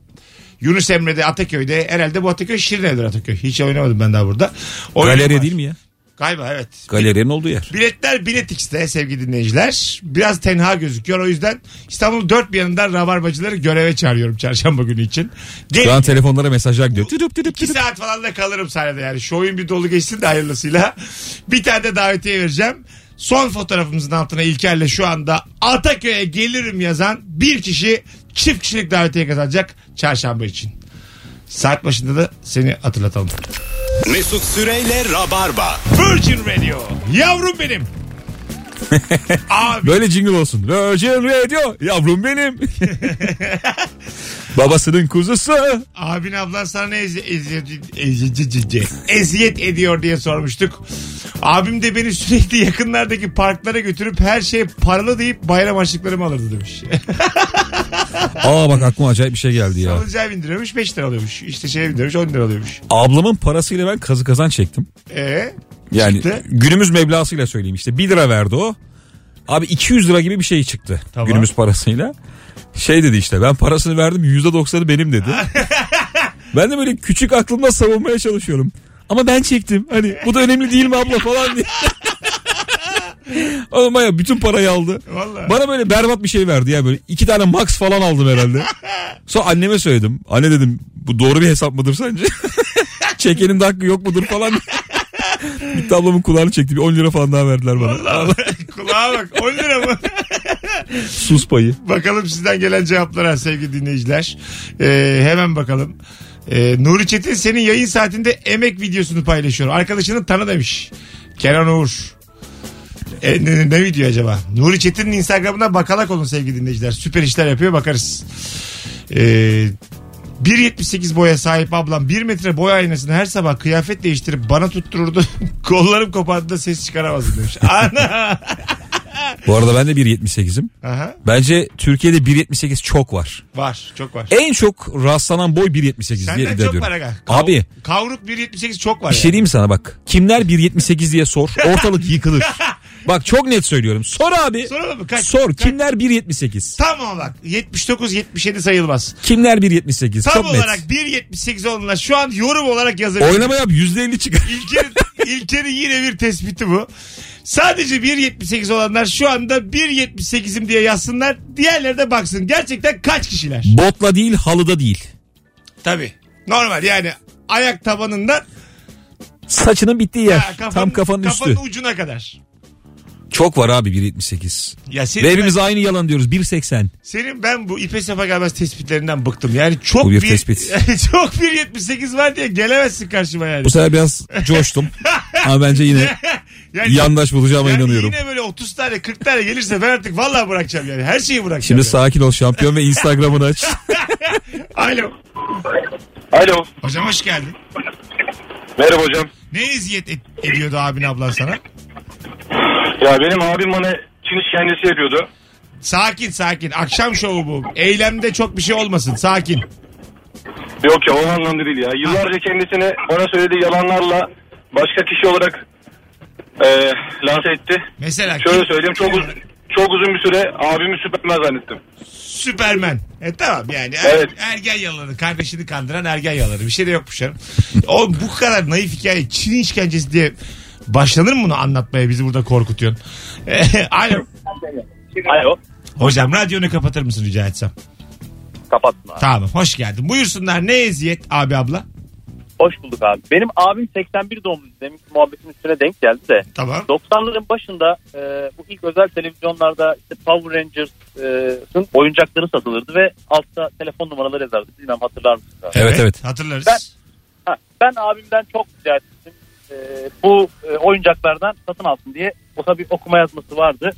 S2: Yunus Emre'de Ataköy'de. Herhalde bu Ataköy şirin evdir Ataköy. Hiç oynamadım ben daha burada. Oyunum
S3: Galeri
S2: var.
S3: değil mi ya?
S2: Galiba evet.
S3: Galerinin olduğu yer.
S2: Biletler Biletix'te sevgili dinleyiciler. Biraz tenha gözüküyor. O yüzden İstanbul'un dört bir yanından rabarbacıları göreve çağırıyorum çarşamba günü için. Gelin.
S3: Şu an telefonlara mesajlar gidiyor. Tüdüp tüdüp
S2: İki
S3: tüdüp.
S2: saat falan da kalırım sahnede yani. Şu oyun bir dolu geçsin de hayırlısıyla. Bir tane de davetiye vereceğim. Son fotoğrafımızın altına İlker'le şu anda Ataköy'e gelirim yazan bir kişi çift kişilik davetiye kazanacak çarşamba için. Saat başında da seni hatırlatalım.
S1: Mesut Süreyle Rabarba.
S2: Virgin Radio. Yavrum benim. Abi
S3: Böyle jingle olsun. Virgin Radio
S2: [LAUGHS]
S3: yavrum benim. Babasının kuzusu.
S2: abin ablan sana ne ezi- eziyet, eziyet, eziyet ediyor diye sormuştuk. Abim de beni sürekli yakınlardaki parklara götürüp her şey paralı deyip bayram harçlıklarımı alırdı demiş. [LAUGHS]
S3: Aa bak aklıma acayip bir şey geldi ya.
S2: Salıncağa bindiriyormuş 5 lira alıyormuş. İşte şeye bindiriyormuş 10 lira alıyormuş. E,
S3: Ablamın parasıyla ben kazı kazan çektim.
S2: Eee?
S3: Yani
S2: Çıktı.
S3: günümüz meblasıyla söyleyeyim işte 1 lira verdi o. Abi 200 lira gibi bir şey çıktı
S2: Tamam.
S3: günümüz parasıyla. Şey dedi işte ben parasını verdim %90'ı benim
S2: [LAUGHS]
S3: dedi. ben de böyle küçük aklımda savunmaya çalışıyorum. Ama ben çektim hani bu da önemli değil mi abla falan diye. [LAUGHS] Oğlum baya bütün parayı aldı.
S2: Vallahi.
S3: Bana böyle berbat bir şey verdi ya böyle. iki tane max falan aldım herhalde. Sonra anneme söyledim. Anne dedim bu doğru bir hesap mıdır sence? [LAUGHS] Çekenin de hakkı yok mudur falan. [LAUGHS] Gitti ablamın kulağını çekti. Bir 10 lira falan daha verdiler bana.
S2: Allah [LAUGHS] Kulağa bak 10 lira mı?
S3: Sus payı.
S2: bakalım sizden gelen cevaplara sevgili dinleyiciler. Ee, hemen bakalım. Ee, Nuri Çetin senin yayın saatinde emek videosunu paylaşıyor. Arkadaşını tanı demiş. Kenan Uğur. E, ne, ne video acaba? Nuri Çetin'in Instagram'ına bakalak olun sevgili dinleyiciler. Süper işler yapıyor bakarız. Ee, 1.78 boya sahip ablam 1 metre boy aynasını her sabah kıyafet değiştirip bana tuttururdu. [LAUGHS] Kollarım kopardığında ses çıkaramazdım demiş. [LAUGHS] Ana!
S3: Bu arada ben de 1.78'im.
S2: Aha,
S3: Bence Türkiye'de 1.78 çok var.
S2: var çok var.
S3: En çok rastlanan boy 1.78 diye
S2: Senden
S3: iddia
S2: çok
S3: ediyorum.
S2: var aga. Kav-
S3: Abi
S2: Kavruk 1.78 çok var
S3: bir şey
S2: yani.
S3: diyeyim mi sana bak. Kimler 1.78
S2: [LAUGHS]
S3: diye sor. Ortalık yıkılır. Bak çok net söylüyorum. Sor abi.
S2: Soralım mı? Kaç?
S3: Sor.
S2: Kaç?
S3: Kimler 1.78?
S2: Tam olarak 79-77 sayılmaz.
S3: Kimler 1.78?
S2: Tam
S3: Çok
S2: olarak
S3: net.
S2: 1.78 olanlar şu an yorum olarak yazabilir.
S3: Oynama yap %50 çıkar.
S2: İlker'in,
S3: [LAUGHS]
S2: İlker'in yine bir tespiti bu. Sadece 1.78 olanlar şu anda 1.78'im diye yazsınlar. Diğerleri de baksın. Gerçekten kaç kişiler?
S3: Botla değil halıda değil.
S2: Tabii. Normal yani ayak tabanından
S3: Saçının bittiği yer.
S2: ha,
S3: Tam kafanın, üstü.
S2: kafanın ucuna kadar.
S3: Çok var abi 1.78.
S2: Ya senin
S3: Ve hepimiz aynı yalan diyoruz 1.80.
S2: Senin ben bu ipe sapa gelmez tespitlerinden bıktım. Yani çok
S3: Bu bir
S2: bir, [LAUGHS]
S3: tespit.
S2: çok bir 78 var diye gelemezsin karşıma yani.
S3: Bu
S2: [LAUGHS]
S3: sefer biraz coştum. Ama bence yine
S2: yani
S3: yandaş bulacağıma
S2: yani
S3: inanıyorum.
S2: Yine böyle 30 tane 40 tane gelirse ben artık vallahi bırakacağım yani. Her şeyi bırakacağım.
S3: Şimdi sakin ol şampiyon ve
S2: [LAUGHS]
S3: Instagram'ını aç.
S2: yani. Alo.
S6: Alo.
S2: Hocam hoş geldin.
S6: Merhaba hocam.
S2: Ne eziyet et- ediyordu abin ablan sana?
S6: Ya benim abim bana Çin işkencesi yapıyordu.
S2: Sakin sakin. Akşam şovu bu. Eylemde çok bir şey olmasın. Sakin.
S6: Yok ya o anlamda değil ya. Yıllarca kendisini bana söylediği yalanlarla başka kişi olarak e, lanse etti.
S2: Mesela
S6: Şöyle
S2: kim-
S6: söyleyeyim çok uz- çok uzun bir süre abimi Süperman zannettim.
S2: Süpermen. E tamam yani. Er-
S6: Evet.
S2: Ergen yalanı. Kardeşini kandıran ergen yalanı. Bir şey de yokmuş canım. Oğlum bu kadar naif hikaye. Çin işkencesi diye başlanır mı bunu anlatmaya? Bizi burada korkutuyorsun. E, [LAUGHS] Alo.
S4: Alo.
S2: Hocam radyonu kapatır mısın rica etsem?
S4: Kapatma.
S2: Tamam hoş geldin. Buyursunlar ne eziyet abi abla?
S4: Hoş bulduk abi. Benim abim 81 doğumlu. Deminki muhabbetin üstüne denk geldi de.
S2: Tamam.
S4: 90'ların başında e, bu ilk özel televizyonlarda işte Power Rangers'ın e, oyuncakları satılırdı ve altta telefon numaraları yazardı. Bilmem hatırlar mısınız? abi?
S3: Evet evet.
S2: Hatırlarız.
S4: Ben- Ha, ben abimden çok rica ettim. E, bu e, oyuncaklardan satın alsın diye. O tabii okuma yazması
S7: [LAUGHS]
S4: vardı.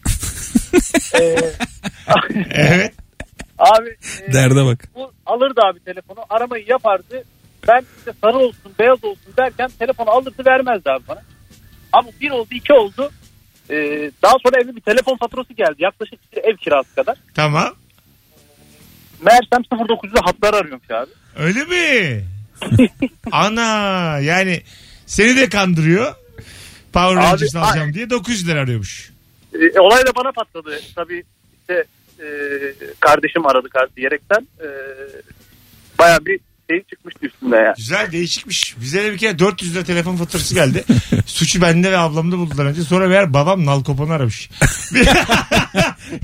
S4: E,
S2: Evet.
S4: [LAUGHS] abi e,
S3: Derde bak.
S4: bu alırdı abi telefonu aramayı yapardı. Ben işte sarı olsun beyaz olsun derken telefonu alırdı vermezdi abi bana. Ama bir oldu iki oldu. Ee, daha sonra evde bir telefon faturası geldi yaklaşık bir ev kirası kadar.
S2: Tamam.
S4: Meğersem 0900'de hatlar arıyormuş abi.
S2: Öyle
S4: [LAUGHS]
S2: mi? Ana yani seni de kandırıyor. Power
S4: Abi,
S2: Rangers alacağım
S4: ay-
S2: diye 900 lira arıyormuş.
S4: Ee, olay da bana patladı. Tabii işte e, kardeşim aradı kardeşi diyerekten. E, Baya bir şey çıkmıştı üstüne yani.
S2: Güzel değişikmiş. Bize de bir kere 400 lira telefon faturası
S3: [LAUGHS]
S2: geldi. Suçu bende ve ablamda buldular önce. Sonra meğer babam nalkopanı aramış.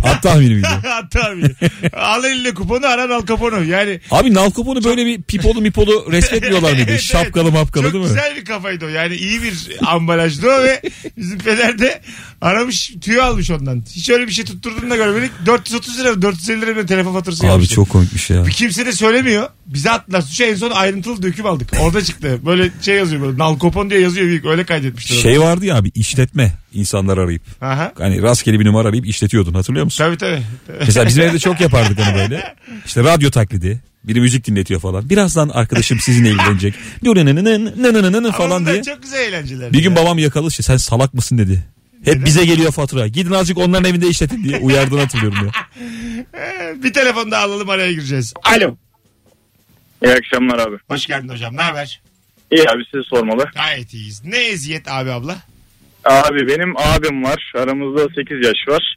S3: At tahmini miydi?
S2: [LAUGHS] Tabii. Al eline kuponu ara nalkoponu. Yani
S3: Abi Nalkopon'u böyle bir pipolu mipolu resmetmiyorlar mıydı?
S2: Evet, evet.
S3: Şapkalı mapkalı
S2: çok
S3: değil mi?
S2: güzel bir kafaydı o. Yani iyi bir ambalajdı o ve bizim peder de aramış tüy almış ondan. Hiç öyle bir şey tutturduğunu da görmedik. 430 lira 450 lira bir şey. telefon faturası
S3: Abi
S2: gelmişti.
S3: çok komikmiş ya.
S2: Bir kimse de söylemiyor. Bize attılar suçu en son ayrıntılı döküm aldık. Orada çıktı. Böyle şey yazıyor böyle. Nalkopon diye yazıyor büyük. Öyle kaydetmişler. onu.
S3: Şey vardı ya abi işletme insanlar arayıp.
S2: Aha.
S3: Hani rastgele bir numara arayıp işletiyordun hatırlıyor musun?
S2: Tabii tabii.
S3: Mesela bizim evde çok yapardık onu böyle. İşte radyo taklidi. Biri müzik dinletiyor falan. Birazdan arkadaşım sizinle ilgilenecek. Nınınınının, nınınının falan
S2: Ama
S3: diye.
S2: Çok güzel eğlenceler.
S3: Bir gün babam yakalı işte sen salak mısın dedi. Hep bize geliyor fatura. Gidin azıcık onların evinde işletin diye uyardığını hatırlıyorum ya.
S2: Ee, bir telefon daha alalım araya gireceğiz. Alo.
S7: İyi akşamlar abi.
S2: Hoş geldin hocam. Ne haber?
S7: İyi abi sizi sormalı.
S2: Gayet iyiyiz. Ne eziyet abi abla?
S7: Abi benim abim var. Aramızda 8 yaş var.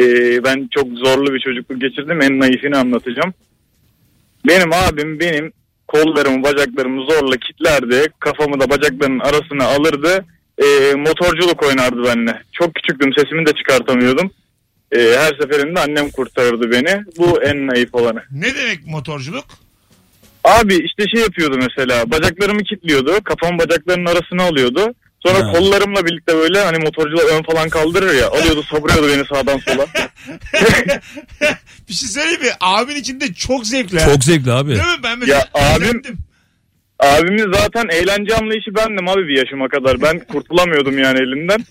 S7: Ee, ben çok zorlu bir çocukluk geçirdim. En naifini anlatacağım. Benim abim benim kollarımı bacaklarımı zorla kilitlerdi. Kafamı da bacaklarının arasına alırdı. e, motorculuk oynardı benimle. Çok küçüktüm sesimi de çıkartamıyordum. E, her seferinde annem kurtarırdı beni. Bu en naif olanı.
S2: Ne demek [LAUGHS] motorculuk?
S7: Abi işte şey yapıyordu mesela bacaklarımı kilitliyordu kafamı bacaklarının arasına alıyordu. Sonra
S3: Ha.
S7: kollarımla birlikte böyle hani motorcular ön falan kaldırır ya alıyordu savuruyordu beni sağdan
S3: [LAUGHS]
S7: sola.
S2: Bir şey söyleyeyim mi? Abimin içinde çok zevkli. ha.
S3: Çok zevkli abi.
S2: Değil mi? Ben mesela
S7: Ya abim-
S2: izlettim.
S7: Abimin zaten eğlence anlayışı bendim abi bir yaşıma kadar. Ben kurtulamıyordum yani elinden.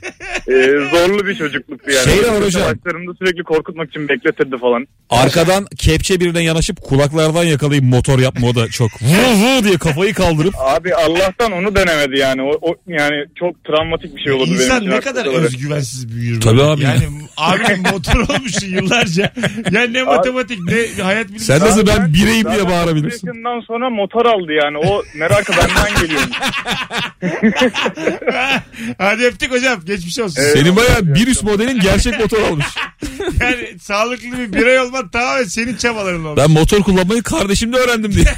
S7: Ee, zorlu bir çocukluktu yani.
S3: Şey de var hocam.
S7: Arkadaşlarımda sürekli korkutmak için bekletirdi falan.
S3: Arkadan kepçe birden yanaşıp kulaklardan yakalayıp motor yapma o da çok. Vı vı diye kafayı kaldırıp.
S7: Abi Allah'tan onu denemedi yani. O, o- yani çok travmatik bir şey olurdu benim
S2: İnsan
S7: için
S2: ne kadar
S7: hakikaten.
S2: özgüvensiz büyür.
S3: Tabii
S2: böyle.
S3: abi ya.
S2: Yani abim
S3: [LAUGHS]
S2: motor olmuşsun yıllarca. Yani ne matematik ne hayat bilgisi.
S3: Sen nasıl
S7: Zaten-
S3: ben bireyim diye
S7: Zaten
S3: bağırabilirsin.
S7: otuz yaşından sonra motor aldı yani. O merakı benden geliyormuş.
S2: [LAUGHS] Hadi öptük hocam. Geçmiş olsun.
S3: Senin bayağı bir üst modelin gerçek motor almış.
S2: Yani sağlıklı bir birey olman tamamen senin çabaların olmuş.
S3: Ben motor kullanmayı kardeşimde öğrendim diye.
S2: [LAUGHS]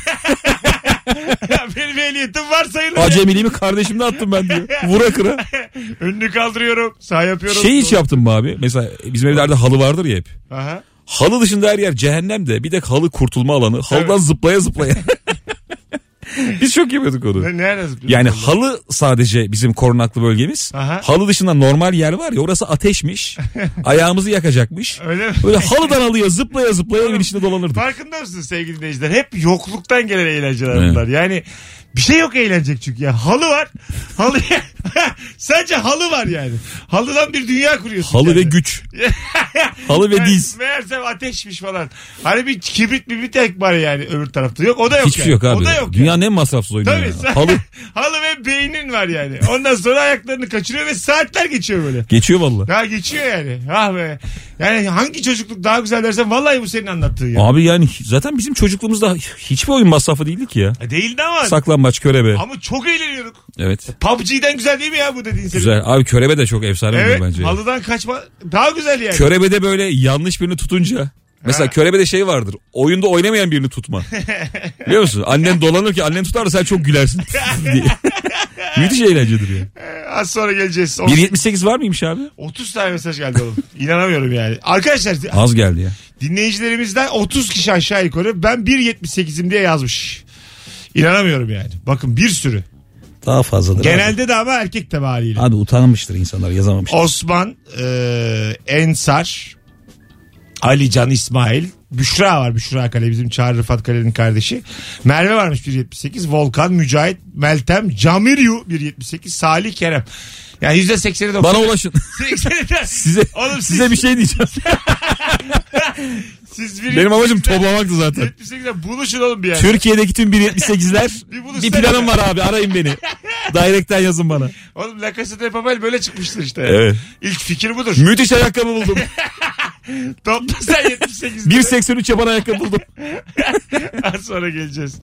S2: Benim ehliyetim var sayılır.
S3: Acemiliğimi kardeşimde attım ben diye. Vura kıra.
S2: [LAUGHS] Önünü kaldırıyorum. Sağ yapıyorum.
S3: Şey hiç yaptın mı abi? Mesela bizim evlerde halı vardır ya hep.
S2: Aha.
S3: Halı dışında her yer cehennem de bir de halı kurtulma alanı. Halıdan
S2: [LAUGHS]
S3: zıplaya zıplaya. Biz çok yapıyorduk onu.
S2: Ne, nerede zıplıyorsun?
S3: Yani halı sadece bizim korunaklı bölgemiz.
S2: Aha.
S3: Halı dışında normal yer var ya orası
S2: [LAUGHS]
S3: ateşmiş. Ayağımızı yakacakmış.
S2: Öyle mi?
S3: Böyle halıdan halıya zıplaya zıplaya evin içinde dolanırdık.
S2: Farkında mısınız sevgili dinleyiciler? Hep yokluktan gelen eğlenceler bunlar. Yani bir şey yok eğlenecek çünkü ya. Halı var. Halı [LAUGHS] Sadece halı var yani. Halıdan bir dünya kuruyorsun.
S3: Halı ve
S2: kendine.
S3: güç.
S2: [LAUGHS]
S3: halı ve
S2: Meğer-
S3: diz.
S2: Meğersem ateşmiş falan. Hani bir kibrit bir tek var yani öbür tarafta. Yok o da yok.
S3: Hiçbir
S2: yani.
S3: şey yok abi.
S2: O da yok.
S3: Dünyanın en masrafsız oyunu.
S2: Tabii.
S3: ya.
S2: sen-
S3: Halı
S2: [LAUGHS] Halı ve beynin var yani. Ondan sonra ayaklarını kaçırıyor ve saatler geçiyor böyle.
S3: geçiyor valla.
S2: Ya geçiyor yani. Ah be. Yani hangi çocukluk daha güzel dersen vallahi bu senin anlattığın [LAUGHS] ya.
S3: Abi yani zaten bizim çocukluğumuzda hiçbir oyun masrafı değildi ki ya.
S2: E, Değildi ama.
S3: Saklambaç, körebe.
S2: Ama çok eğleniyorduk.
S3: Evet.
S2: PUBG'den güzel değil mi ya bu dediğin senin?
S3: Güzel. Abi körebe de çok efsane
S2: Evet.
S3: oyun bence.
S2: Halıdan kaçma daha güzel yani.
S3: Körebede böyle yanlış birini tutunca. Mesela
S2: Ha.
S3: körebede şey vardır. Oyunda oynamayan
S2: [LAUGHS]
S3: birini tutma. Biliyor musun? Annen dolanır ki annen tutar da sen çok gülersin. [LAUGHS] diye. Müthiş eğlencedir ya.
S2: Az sonra geleceğiz.
S3: 1.78 var mıymış abi?
S2: 30 tane mesaj geldi oğlum. İnanamıyorum yani. Arkadaşlar
S3: Az geldi ya.
S2: Dinleyicilerimizden 30 kişi aşağı yukarı ben 1.78'im diye yazmış. İnanamıyorum yani. Bakın bir sürü.
S11: Daha fazladır. Abi.
S2: Genelde de ama erkek tabi haliyle.
S11: Abi utanmıştır insanlar yazamamıştır.
S2: Osman, e, Ensar, Alican, İsmail, Büşra var. Büşra Kale bizim Çağrı Rıfat Kale'nin kardeşi. Merve varmış 1.78. Volkan, Mücahit, Meltem, Camiryu 1.78. Salih, Kerem. Yani %80'i de...
S3: [LAUGHS] Bana ulaşın. [LAUGHS]
S2: [LAUGHS]
S3: Size,
S2: Oğlum siz-
S3: size bir
S2: [LAUGHS]
S3: şey diyeceğim.
S2: Siz
S3: Benim amacım toplamaktı zaten.
S2: 78'de buluşun oğlum bir yerde.
S3: Türkiye'deki tüm 1.78'ler
S2: Bir buluşsana.
S3: bir planım var abi
S2: [LAUGHS]
S3: arayın beni. Direct'ten yazın bana.
S2: Oğlum La Casa de Papel böyle çıkmıştır işte.
S3: Evet.
S2: İlk fikir budur.
S3: Müthiş ayakkabı buldum.
S2: Topla sen 78 'de.
S3: 1.83 yapan ayakkabı buldum.
S2: [LAUGHS] Az sonra geleceğiz.